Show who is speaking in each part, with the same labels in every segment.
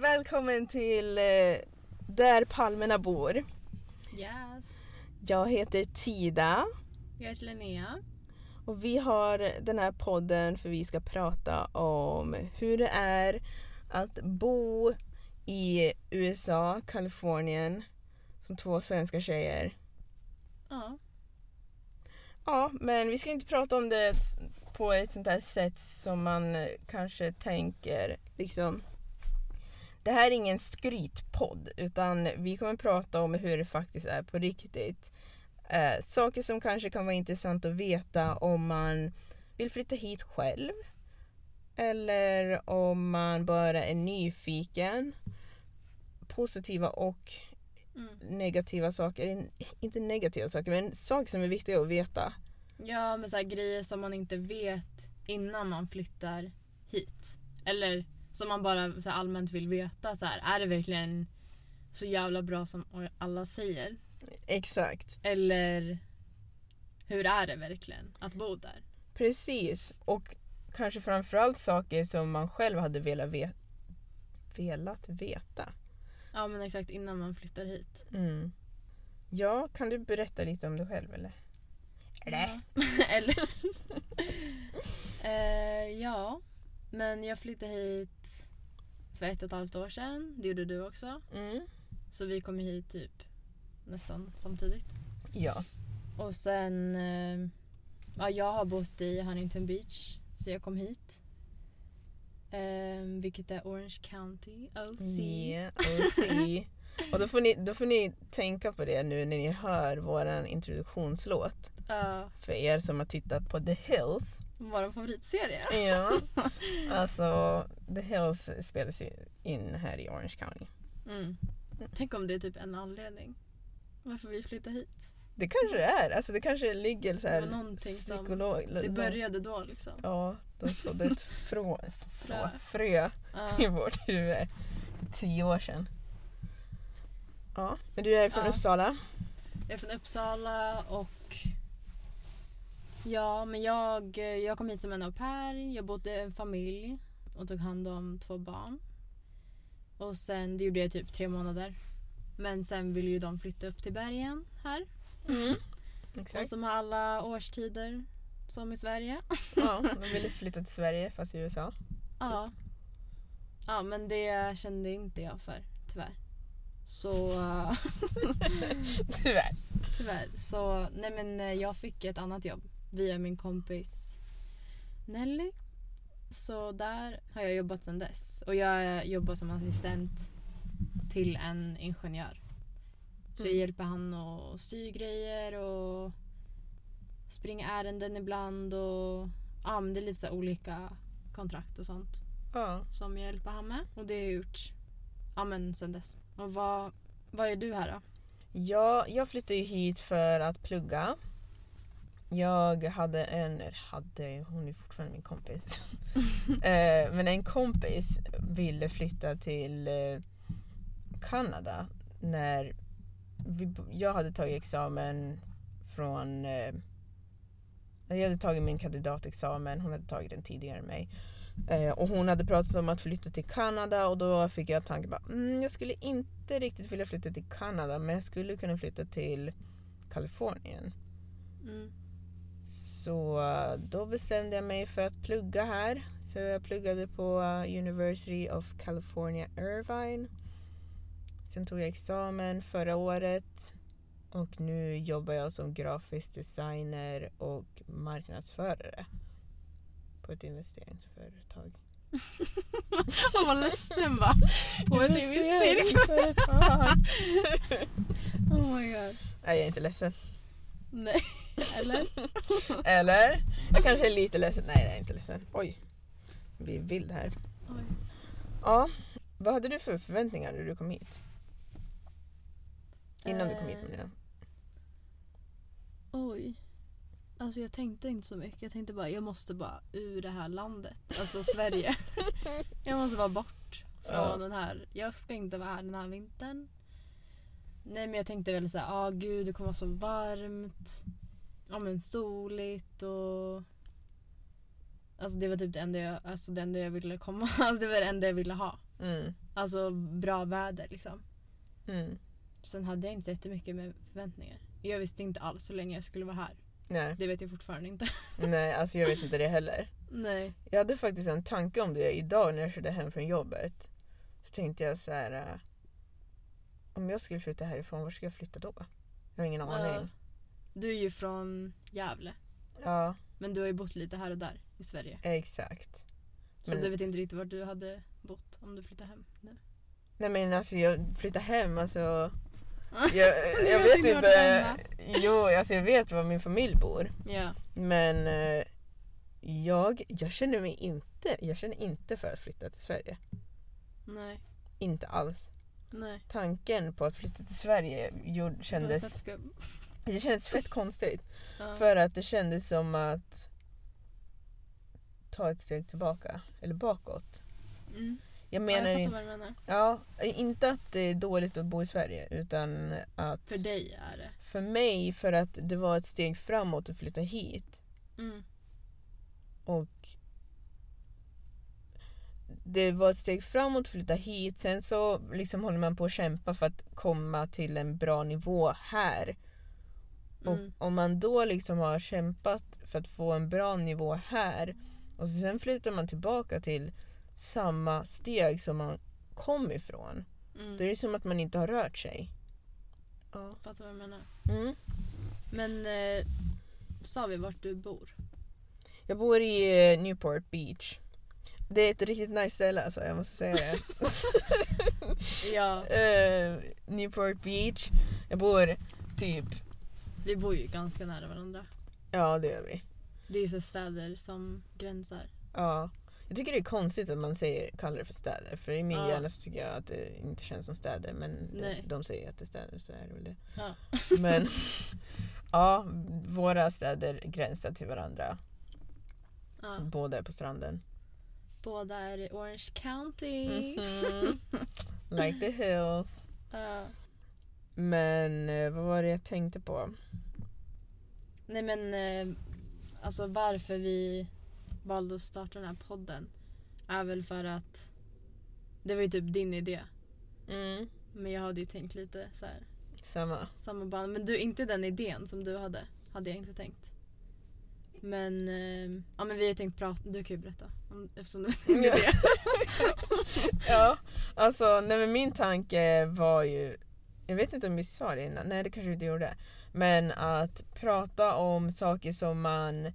Speaker 1: välkommen till eh, Där palmerna bor.
Speaker 2: Yes.
Speaker 1: Jag heter Tida
Speaker 2: Jag heter Linnea.
Speaker 1: och vi har den här podden för vi ska prata om hur det är att bo i USA, Kalifornien, som två svenska tjejer.
Speaker 2: Ja.
Speaker 1: Ja, men vi ska inte prata om det s- på ett sånt här sätt som man eh, kanske tänker liksom. Det här är ingen skrytpodd utan vi kommer prata om hur det faktiskt är på riktigt. Eh, saker som kanske kan vara intressant att veta om man vill flytta hit själv. Eller om man bara är nyfiken. Positiva och
Speaker 2: Mm.
Speaker 1: negativa saker. In- Inte negativa saker men saker som är viktiga att veta.
Speaker 2: Ja, men så här grejer som man inte vet innan man flyttar hit. Eller som man bara så här allmänt vill veta. Så här, är det verkligen så jävla bra som alla säger?
Speaker 1: Exakt.
Speaker 2: Eller hur är det verkligen att bo där?
Speaker 1: Precis, och kanske framförallt saker som man själv hade velat, ve- velat veta.
Speaker 2: Ja, men exakt innan man flyttar hit.
Speaker 1: Mm. Ja, kan du berätta lite om dig själv eller? Eller?
Speaker 2: Ja. Eller? eh, ja, men jag flyttade hit för ett och ett halvt år sedan. Det gjorde du också.
Speaker 1: Mm.
Speaker 2: Så vi kom ju hit typ nästan samtidigt.
Speaker 1: Ja.
Speaker 2: Och sen... Eh, ja, jag har bott i Huntington Beach, så jag kom hit. Eh, vilket är Orange County, OC.
Speaker 1: Yeah, och see. Och då får, ni, då får ni tänka på det nu när ni hör vår introduktionslåt.
Speaker 2: Ja,
Speaker 1: För er som har tittat på The Hills.
Speaker 2: vår favoritserie.
Speaker 1: Ja. Alltså, The Hills spelas ju in här i Orange County.
Speaker 2: Mm. Tänk om det är typ en anledning varför vi flyttade hit.
Speaker 1: Det kanske det är. Alltså det kanske ligger så här
Speaker 2: Det var någonting som-
Speaker 1: psykolog...
Speaker 2: Det började då liksom.
Speaker 1: Ja, de sådde ett frå, frå,
Speaker 2: Frö.
Speaker 1: frö
Speaker 2: Ja.
Speaker 1: i vårt huvud för tio år sedan. Ja, men du är från
Speaker 2: Ja.
Speaker 1: Uppsala.
Speaker 2: Jag är från Uppsala och ja, men jag, jag kom hit som en au pair. Jag bodde i en familj och tog hand om två barn. Och sen, det gjorde jag typ tre månader. Men sen ville ju de flytta upp till bergen här. Och
Speaker 1: Exakt.
Speaker 2: som har alla årstider som i Sverige.
Speaker 1: Ja, de ville flytta till Sverige fast i USA.
Speaker 2: Ja. Ja, men det kände inte jag för, tyvärr. Så...
Speaker 1: Tyvärr.
Speaker 2: Tyvärr. Så nej men eh, jag fick ett annat jobb via min kompis Nelly. Så där har jag jobbat sedan dess. Och jag jobbar som assistent till en ingenjör. Så jag
Speaker 1: Mm.
Speaker 2: hjälper han att sy grejer och springa ärenden ibland och ja, men det är lite så här olika kontrakt och sånt
Speaker 1: Ja.
Speaker 2: som jag hjälper han med. Och det har jag gjort ja, men sedan dess. Och vad, vad gör du här då?
Speaker 1: Jag, jag flyttade ju hit för att plugga. Jag hade en, eller hade, hon är fortfarande min kompis. eh, men en kompis ville flytta till eh, Kanada när vi, bo- jag hade tagit examen från... Eh, jag hade tagit min kandidatexamen, hon hade tagit den tidigare än mig. Eh, och hon hade pratat om att flytta till Kanada och då fick jag tanken bara, mm, jag skulle inte riktigt vilja flytta till Kanada men jag skulle kunna flytta till Kalifornien.
Speaker 2: Mm.
Speaker 1: Så eh, då bestämde jag mig för att plugga här. Så jag pluggade på eh, University of California Irvine. Sen tog jag examen förra året och nu jobbar jag som grafisk designer och marknadsförare på ett investeringsföretag.
Speaker 2: Han var ledsen va? På ett investeringsföretag.
Speaker 1: investeringsföretag.
Speaker 2: Oh my god.
Speaker 1: Nej, jag är inte ledsen.
Speaker 2: Nej. Eller?
Speaker 1: Eller? Jag kanske är lite ledsen. Nej, jag är inte ledsen. Oj. Jag blir vild här.
Speaker 2: Oj.
Speaker 1: Ja. Vad hade du för förväntningar när du kom hit? Innan du kom hit
Speaker 2: Eh,
Speaker 1: menar jag.
Speaker 2: Oj. Alltså jag tänkte inte så mycket. Jag tänkte bara jag måste bara ur det här landet. Alltså Sverige. jag måste vara bort från
Speaker 1: Ja.
Speaker 2: den här. Jag ska inte vara här den här vintern. Nej men jag tänkte väl såhär, ah gud det kommer vara så varmt. Ja men soligt och... Alltså det var typ det enda jag, alltså, det enda jag ville komma, alltså det var det enda jag ville ha.
Speaker 1: Mm.
Speaker 2: Alltså bra väder liksom.
Speaker 1: Mm.
Speaker 2: Sen hade jag inte så jättemycket med förväntningar. Jag visste inte alls hur länge jag skulle vara här.
Speaker 1: Nej.
Speaker 2: Det vet jag fortfarande inte.
Speaker 1: Nej, alltså jag vet inte det heller.
Speaker 2: Nej.
Speaker 1: Jag hade faktiskt en tanke om det idag när jag körde hem från jobbet. Så tänkte jag så här. eh, Om jag skulle flytta härifrån, var ska jag flytta då? Jag har ingen aning.
Speaker 2: Du är ju från Gävle.
Speaker 1: Ja,
Speaker 2: Men du har ju bott lite här och där i Sverige.
Speaker 1: exakt.
Speaker 2: Så
Speaker 1: Men-
Speaker 2: du vet inte riktigt vart du hade bott om du flyttade hem nu.
Speaker 1: Nej men alltså jag flyttar hem alltså.
Speaker 2: Ah,
Speaker 1: Jag,
Speaker 2: Du
Speaker 1: jag
Speaker 2: vet
Speaker 1: vet
Speaker 2: inte vart
Speaker 1: inte.
Speaker 2: hemma.
Speaker 1: Jo, alltså jag vet var min familj bor.
Speaker 2: Ja.
Speaker 1: Men eh, jag, jag känner mig inte, jag känner inte för att flytta till Sverige.
Speaker 2: Nej.
Speaker 1: Inte alls.
Speaker 2: Nej.
Speaker 1: Tanken på att flytta till Sverige gjorde,
Speaker 2: För att
Speaker 1: kändes,
Speaker 2: ska-
Speaker 1: det kändes fett konstigt.
Speaker 2: Ja.
Speaker 1: För att det kändes som att ta ett steg tillbaka, eller bakåt.
Speaker 2: Mm.
Speaker 1: Jag
Speaker 2: Ja, jag
Speaker 1: menar
Speaker 2: fattar
Speaker 1: inte,
Speaker 2: vad du menar.
Speaker 1: ja, inte att det är dåligt att bo i Sverige utan att
Speaker 2: För dig är det.
Speaker 1: För mig, för att det var ett steg framåt att flytta hit.
Speaker 2: Mm.
Speaker 1: Och det var ett steg framåt att flytta hit. Sen så liksom håller man på att kämpa för att komma till en bra nivå här.
Speaker 2: Mm.
Speaker 1: Och om man då liksom har kämpat för att få en bra nivå här och sen flyttar man tillbaka till samma steg som man kom ifrån. Då är
Speaker 2: Mm.
Speaker 1: det som att man inte har rört sig. Ja.
Speaker 2: Fattar vad du menar.
Speaker 1: Mm.
Speaker 2: Men eh, sa vi vart du bor?
Speaker 1: Jag bor i eh, Newport Beach. Det är ett riktigt nice ställe alltså, jag måste säga det.
Speaker 2: Ja,
Speaker 1: Eh, Newport Beach. Jag bor typ,
Speaker 2: vi bor ju ganska nära varandra.
Speaker 1: ja det gör vi.
Speaker 2: Det är ju så städer som gränsar.
Speaker 1: Ja. Jag tycker det är konstigt att man säger, kallar det för städer. För i min
Speaker 2: Ja.
Speaker 1: hjärna så tycker jag att det inte känns som städer. Men
Speaker 2: Nej.
Speaker 1: de säger att det är städer så är det väl det.
Speaker 2: Ja.
Speaker 1: Men ja, våra städer gränsar till varandra.
Speaker 2: Ja.
Speaker 1: Båda är på stranden.
Speaker 2: Båda är i Orange County.
Speaker 1: Mhm. Like the hills.
Speaker 2: Ja.
Speaker 1: Men eh, vad var det jag tänkte på?
Speaker 2: Nej men, eh, alltså varför vi valde att starta den här podden är väl för att det var ju typ din idé.
Speaker 1: Mm.
Speaker 2: Men jag hade ju tänkt lite så här,
Speaker 1: Samma.
Speaker 2: samma band. Men du, inte den idén som du hade, hade jag inte tänkt. Men, eh, ja men vi har tänkt prata, du kan ju berätta. Om, eftersom du vet
Speaker 1: Ja.
Speaker 2: inte det.
Speaker 1: ja, alltså nej, men min tanke var ju, jag vet inte om vi sa det innan, nej det kanske vi inte gjorde. Men att prata om saker som man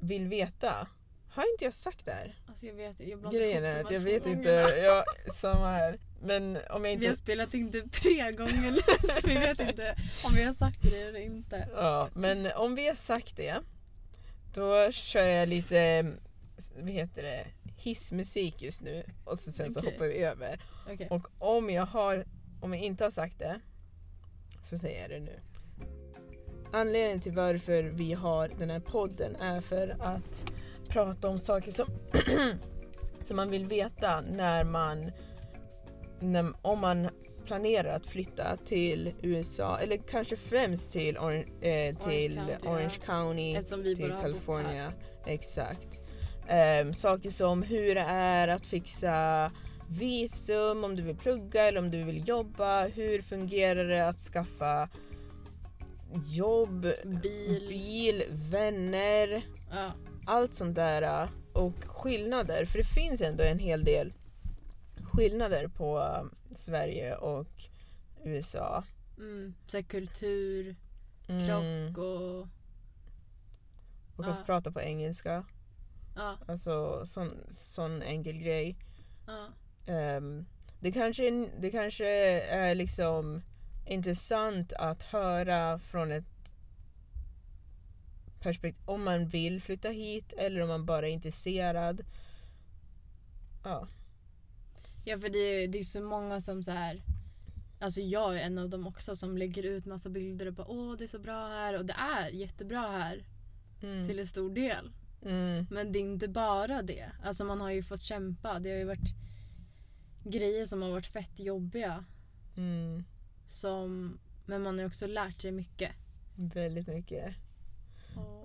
Speaker 1: vill veta. Har inte jag sagt det här?
Speaker 2: Alltså jag vet, jag blandar
Speaker 1: Grejen
Speaker 2: ihop
Speaker 1: är
Speaker 2: de
Speaker 1: att
Speaker 2: här
Speaker 1: jag
Speaker 2: två
Speaker 1: vet
Speaker 2: gångerna.
Speaker 1: inte, jag, samma här. Men om jag
Speaker 2: Vi har
Speaker 1: inte...
Speaker 2: spelat in typ tre gånger nu så vi vet inte om vi har sagt det eller inte.
Speaker 1: Ja, men om vi har sagt det, då kör jag lite, vad heter det, hissmusik just nu och så, sen så
Speaker 2: Okej.
Speaker 1: hoppar vi över.
Speaker 2: Okej.
Speaker 1: Och om jag, har, om jag inte har sagt det så säger jag det nu. Anledningen till varför vi har den här podden är för att prata om saker som, som man vill veta när man, när, om man planerar att flytta till USA eller kanske främst till, Or- eh, till
Speaker 2: County, ja.
Speaker 1: Orange County
Speaker 2: Eftersom vi
Speaker 1: till
Speaker 2: bara har bott här.
Speaker 1: California. Exakt. Ehm, saker som hur det är att fixa visum om du vill plugga eller om du vill jobba. Hur fungerar det att skaffa jobb,
Speaker 2: Bil.
Speaker 1: bil vänner,
Speaker 2: Ja.
Speaker 1: allt sånt där. äh, Och skillnader, för det finns ändå en hel del skillnader på eh, Sverige och USA.
Speaker 2: Mm. Så här kultur,
Speaker 1: Mm.
Speaker 2: krock och...
Speaker 1: Och att
Speaker 2: Ja.
Speaker 1: prata på engelska,
Speaker 2: Ja,
Speaker 1: alltså sån, sån enkel grej.
Speaker 2: ja.
Speaker 1: Ehm, det, kanske, det kanske är liksom intressant att höra från ett perspektiv om man vill flytta hit eller om man bara är intresserad. Ja.
Speaker 2: ja för det är, det är så många som så här... Alltså jag är en av dem också som lägger ut massa bilder och bara åh det är så bra här och det är jättebra här
Speaker 1: Mm.
Speaker 2: till en stor del.
Speaker 1: Mm.
Speaker 2: Men det är inte bara det. Alltså man har ju fått kämpa. Det har ju varit grejer som har varit fett jobbiga
Speaker 1: Mm.
Speaker 2: som... Men man har ju också lärt sig mycket.
Speaker 1: Väldigt mycket.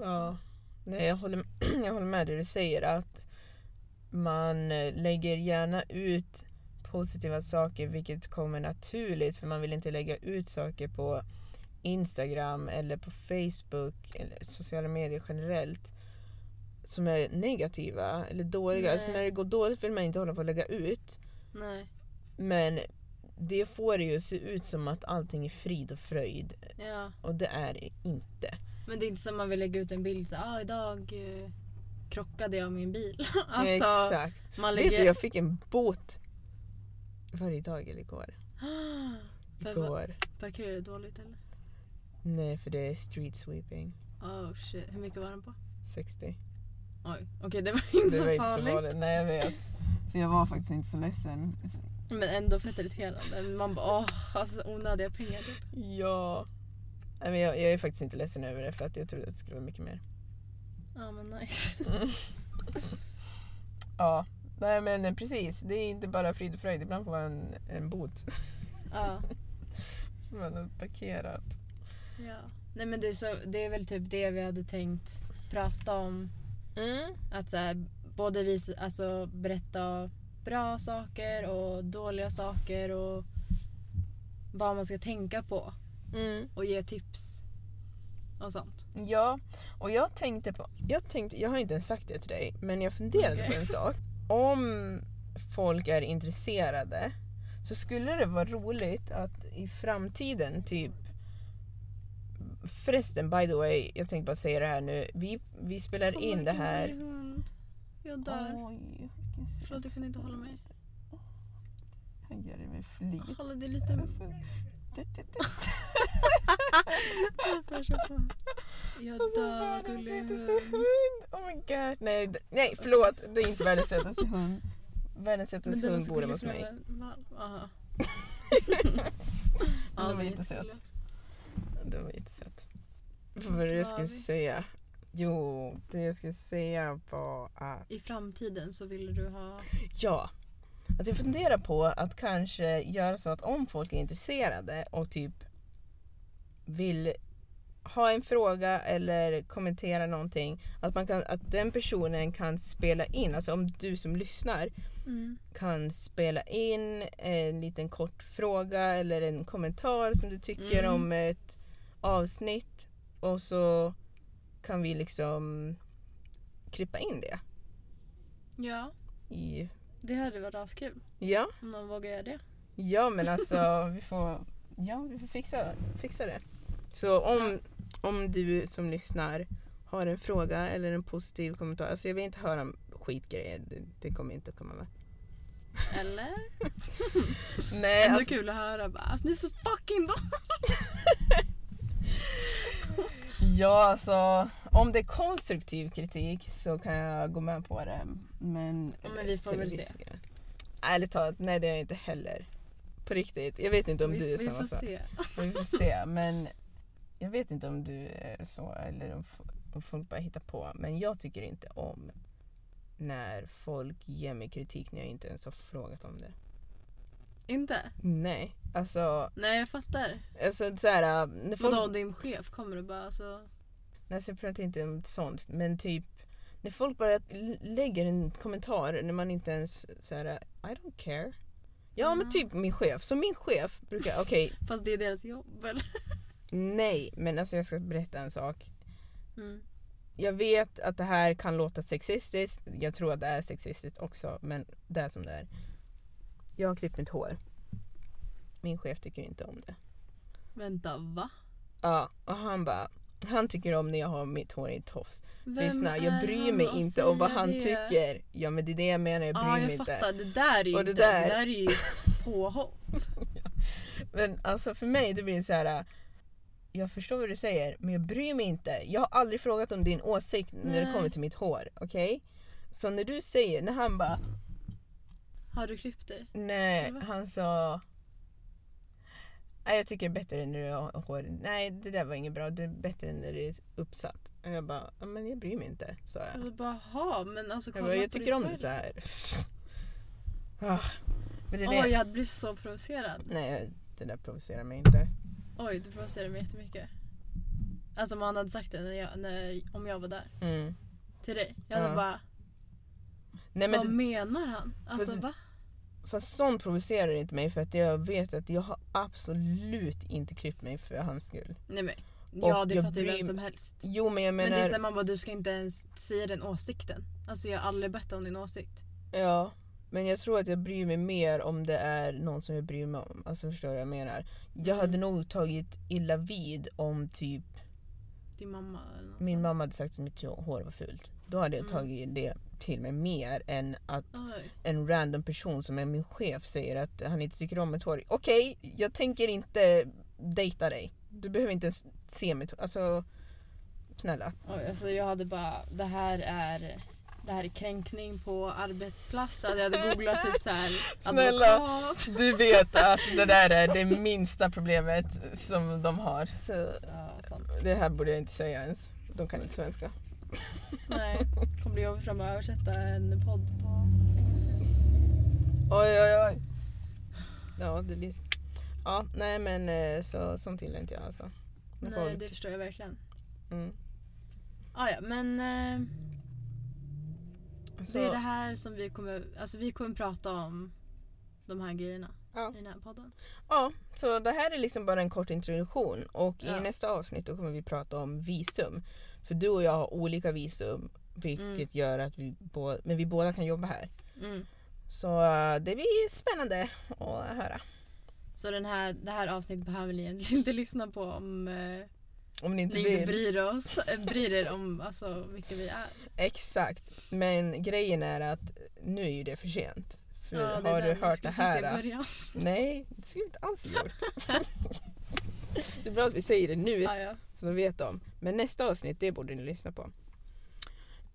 Speaker 1: Ja. Nej, jag, håller, jag håller med det du säger att man eh, lägger gärna ut positiva saker vilket kommer naturligt för man vill inte lägga ut saker på Instagram eller på Facebook eller sociala medier generellt som är negativa eller dåliga.
Speaker 2: Nej.
Speaker 1: Alltså när det går dåligt vill man inte hålla på att lägga ut
Speaker 2: Nej.
Speaker 1: men det får det ju se ut som att allting är frid och fröjd
Speaker 2: Ja.
Speaker 1: och det är det inte.
Speaker 2: Men det är inte som man vill lägga ut en bild så ah, idag eh, krockade jag min bil.
Speaker 1: Ja,
Speaker 2: alltså,
Speaker 1: Exakt.
Speaker 2: man
Speaker 1: Vet du,
Speaker 2: lägger...
Speaker 1: jag fick en bot varje dag eller igår.
Speaker 2: För vad-
Speaker 1: Igår.
Speaker 2: Parkerade du dåligt eller?
Speaker 1: Nej, för det är street sweeping.
Speaker 2: Oh shit, hur mycket var den på?
Speaker 1: 60.
Speaker 2: Oj, okej det var inte
Speaker 1: det
Speaker 2: så
Speaker 1: var
Speaker 2: farligt.
Speaker 1: inte så farligt. Nej, jag vet. Så jag var faktiskt inte så ledsen.
Speaker 2: Men ändå fett irriterande. Man bara åh, alltså onödiga pengar typ.
Speaker 1: Ja. Nej, men jag, jag är faktiskt inte ledsen över det för att jag trodde att det skulle vara mycket mer.
Speaker 2: Ja men nice.
Speaker 1: Ja. Nej men eh, precis, det är inte bara frid och fröjd. Ibland får man en, en bot.
Speaker 2: Ja.
Speaker 1: Man har parkerat.
Speaker 2: ja. Nej men det är, så, det är väl typ det vi hade tänkt prata om.
Speaker 1: Mm.
Speaker 2: Att så här, både vi, alltså berätta bra saker och dåliga saker och vad man ska tänka på
Speaker 1: Mm.
Speaker 2: och ge tips och sånt.
Speaker 1: Ja, och jag tänkte på... Jag, tänkte, jag har inte ens sagt det till dig, men jag funderade
Speaker 2: Okej.
Speaker 1: på en sak. Om folk är intresserade så skulle det vara roligt att i framtiden typ... Förresten, by the way, jag tänkte bara säga det här nu. Vi, vi spelar
Speaker 2: Åh,
Speaker 1: in det
Speaker 2: vilken
Speaker 1: här...
Speaker 2: gullig hund. Jag dör.
Speaker 1: Oj,
Speaker 2: Förlåt jag kunde inte hålla mig.
Speaker 1: Han gör det med flit.
Speaker 2: Hålla dig lite... Jag
Speaker 1: Alltså,
Speaker 2: dör gullig hund.
Speaker 1: Oh my god. Nej, d- nej förlåt. Det är inte världens sötaste hund. Världens sötaste hund bor hemma hos mig.
Speaker 2: Aha.
Speaker 1: var jättesöt. Den var jättesöt. Vad var det jag
Speaker 2: Vad
Speaker 1: skulle
Speaker 2: var vi?
Speaker 1: säga? Jo, det jag skulle säga var att...
Speaker 2: I framtiden så ville du ha...
Speaker 1: Ja. Att jag funderar på att kanske göra så att om folk är intresserade och typ vill ha en fråga eller kommentera någonting. Att, man kan, att den personen kan spela in, alltså om du som lyssnar Mm. kan spela in eh, en liten kort fråga eller en kommentar som du tycker
Speaker 2: Mm.
Speaker 1: om ett avsnitt och så kan vi liksom klippa in det.
Speaker 2: Ja,
Speaker 1: I,
Speaker 2: det hade varit askul
Speaker 1: ja,
Speaker 2: om någon vågar göra det.
Speaker 1: ja men alltså vi får, ja, vi får fixa, fixa det. Så om, om du som lyssnar har en fråga eller en positiv kommentar, alltså jag vill inte höra om skitgrejer, det, det kommer jag inte att komma med.
Speaker 2: Eller?
Speaker 1: Nej,
Speaker 2: Ändå
Speaker 1: alltså,
Speaker 2: kul att höra bara alltså, ni är så fucking då.
Speaker 1: Ja, alltså om det är konstruktiv kritik så kan jag gå med på det. Men,
Speaker 2: Ja, men vi får
Speaker 1: till
Speaker 2: väl
Speaker 1: en viss
Speaker 2: se.
Speaker 1: gräns. Ärligt talat, nej det är jag inte heller. På riktigt. Jag vet inte om du är
Speaker 2: vi
Speaker 1: samma
Speaker 2: får
Speaker 1: sak.
Speaker 2: se.
Speaker 1: Men Vi får se. Men jag vet inte om du är så eller om, f- om folk bara hittar på. Men jag tycker inte om när folk ger mig kritik när jag inte ens har frågat om det.
Speaker 2: Inte?
Speaker 1: Nej, alltså,
Speaker 2: Nej jag fattar.
Speaker 1: alltså så här, när folk
Speaker 2: Vadå om din chef kommer och bara alltså...
Speaker 1: Nej, så jag pratar inte om sånt. Men typ när folk bara l- lägger en kommentar när man inte ens säger I don't care. Ja men
Speaker 2: Ja.
Speaker 1: typ min chef. Så min chef brukar, okej
Speaker 2: Fast det är deras jobb eller?
Speaker 1: nej men alltså jag ska berätta en sak.
Speaker 2: Mm.
Speaker 1: Jag vet att det här kan låta sexistiskt. Jag tror att det är sexistiskt också men det är som det är. Jag har klippt mitt hår. Min chef tycker inte om det.
Speaker 2: Vänta va?
Speaker 1: Ja och han bara, han tycker om när jag har mitt hår i tofs.
Speaker 2: Vem
Speaker 1: Lyssna, jag
Speaker 2: är
Speaker 1: bryr
Speaker 2: han
Speaker 1: mig
Speaker 2: att
Speaker 1: inte om vad
Speaker 2: säga
Speaker 1: han
Speaker 2: det?
Speaker 1: tycker. Ja men det är det jag menar, jag bryr
Speaker 2: Ja, jag
Speaker 1: mig inte.
Speaker 2: fattar. Det där är ju
Speaker 1: Och
Speaker 2: inte...
Speaker 1: det
Speaker 2: Det
Speaker 1: där-
Speaker 2: där, är ju påhopp.
Speaker 1: Men alltså för mig det blir det så här. äh, Jag förstår vad du säger men jag bryr mig inte. Jag har aldrig frågat om din åsikt när det
Speaker 2: Nej.
Speaker 1: kommer till mitt hår. Okej? Så när du säger, när han bara
Speaker 2: Har du klippt dig?
Speaker 1: nej,
Speaker 2: Va?
Speaker 1: han sa Nej jag tycker det är bättre när du har hår. Nej det där var inget bra, det är bättre när det är uppsatt. Och jag bara, "Ja, men jag bryr mig inte sa jag.
Speaker 2: Jag vill bara, ha men alltså
Speaker 1: Jag,
Speaker 2: kolla
Speaker 1: bara, jag
Speaker 2: på dig
Speaker 1: tycker om
Speaker 2: själv."
Speaker 1: det så här. Ah, men det är
Speaker 2: Åh,
Speaker 1: det.
Speaker 2: jag hade blivit så provocerad.
Speaker 1: Nej, det där provocerar mig inte.
Speaker 2: Oj, du provocerade mig jättemycket. Alltså om han hade sagt det när jag, när, om jag var där.
Speaker 1: Mm.
Speaker 2: Till dig. Jag hade
Speaker 1: Ja.
Speaker 2: bara,
Speaker 1: Nej, men
Speaker 2: vad
Speaker 1: det,
Speaker 2: menar han? Alltså
Speaker 1: Fast-
Speaker 2: va?
Speaker 1: Fast sånt provocerar inte mig för att jag vet att jag har absolut inte klippt mig för hans skull.
Speaker 2: Nej men. Ja
Speaker 1: Och
Speaker 2: det
Speaker 1: jag
Speaker 2: fattar ju vem
Speaker 1: bryr-
Speaker 2: som helst.
Speaker 1: Jo men jag
Speaker 2: Men,
Speaker 1: menar...
Speaker 2: det är såhär man bara du ska inte ens säga den åsikten. Alltså jag har aldrig bett om din åsikt.
Speaker 1: Ja, men jag tror att jag bryr mig mer om det är någon som jag bryr mig om. Alltså förstår du vad jag menar? Jag
Speaker 2: Mm.
Speaker 1: hade nog tagit illa vid om typ
Speaker 2: Din mamma eller något
Speaker 1: min
Speaker 2: sånt.
Speaker 1: mamma hade sagt att mitt hår var fult. Då hade jag
Speaker 2: Mm.
Speaker 1: tagit det till mig mer än att
Speaker 2: Oj.
Speaker 1: en random person som är min chef säger att han inte tycker om mitt hår. Okej, jag tänker inte dejta dig. Du behöver inte ens se mitt hår. Alltså, snälla.
Speaker 2: Oj, alltså jag hade bara, det här är det här är kränkning på arbetsplats. Alltså jag hade googlat typ såhär
Speaker 1: Snälla.
Speaker 2: advokat.
Speaker 1: Du vet att det där är det minsta problemet som de har. Så
Speaker 2: Ja, sant.
Speaker 1: Det här borde jag inte säga ens. De kan inte svenska.
Speaker 2: Nej, kommer bli jobbigt fram att översätta en podd på engelska.
Speaker 1: Oj, oj, oj. Ja, det blir... Ja, nej men eh, så, sånt gillar inte jag alltså. Men
Speaker 2: Nej,
Speaker 1: folk-
Speaker 2: det förstår jag verkligen.
Speaker 1: Mm.
Speaker 2: Ah, ja, men eh,
Speaker 1: Så,
Speaker 2: det är det här som vi kommer, alltså vi kommer prata om de här grejerna
Speaker 1: Ja.
Speaker 2: i den här podden.
Speaker 1: Ja, så det här är liksom bara en kort introduktion och
Speaker 2: Ja.
Speaker 1: i nästa avsnitt då kommer vi prata om visum. För du och jag har olika visum vilket
Speaker 2: Mm.
Speaker 1: gör att vi, bå- men vi båda kan jobba här.
Speaker 2: Mm.
Speaker 1: Så eh, det blir spännande att höra.
Speaker 2: Så den här, det här avsnittet behöver ni egentligen inte lyssna på om eh,
Speaker 1: Om ni inte
Speaker 2: ni inte
Speaker 1: vill.
Speaker 2: bryr, oss, eh, bryr er om alltså, vilka vi är.
Speaker 1: Exakt, men grejen är att nu är ju det för sent. För
Speaker 2: det är
Speaker 1: har du
Speaker 2: där man
Speaker 1: hört
Speaker 2: ska
Speaker 1: det
Speaker 2: sitta i
Speaker 1: här?
Speaker 2: början.
Speaker 1: Nej, det skulle vi inte alls ha gjort. det är bra att vi säger det nu
Speaker 2: Ja, ja.
Speaker 1: så de vet de. Men nästa avsnitt, det borde ni lyssna på.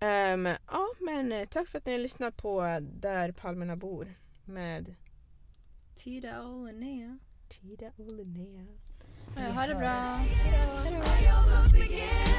Speaker 1: Ehm, ja, men eh, tack för att ni har lyssnat på eh, Där palmerna bor med
Speaker 2: Tida och Linnea.
Speaker 1: Tida och Linnea.
Speaker 2: Ja, ha det bra.
Speaker 3: Where your love begins.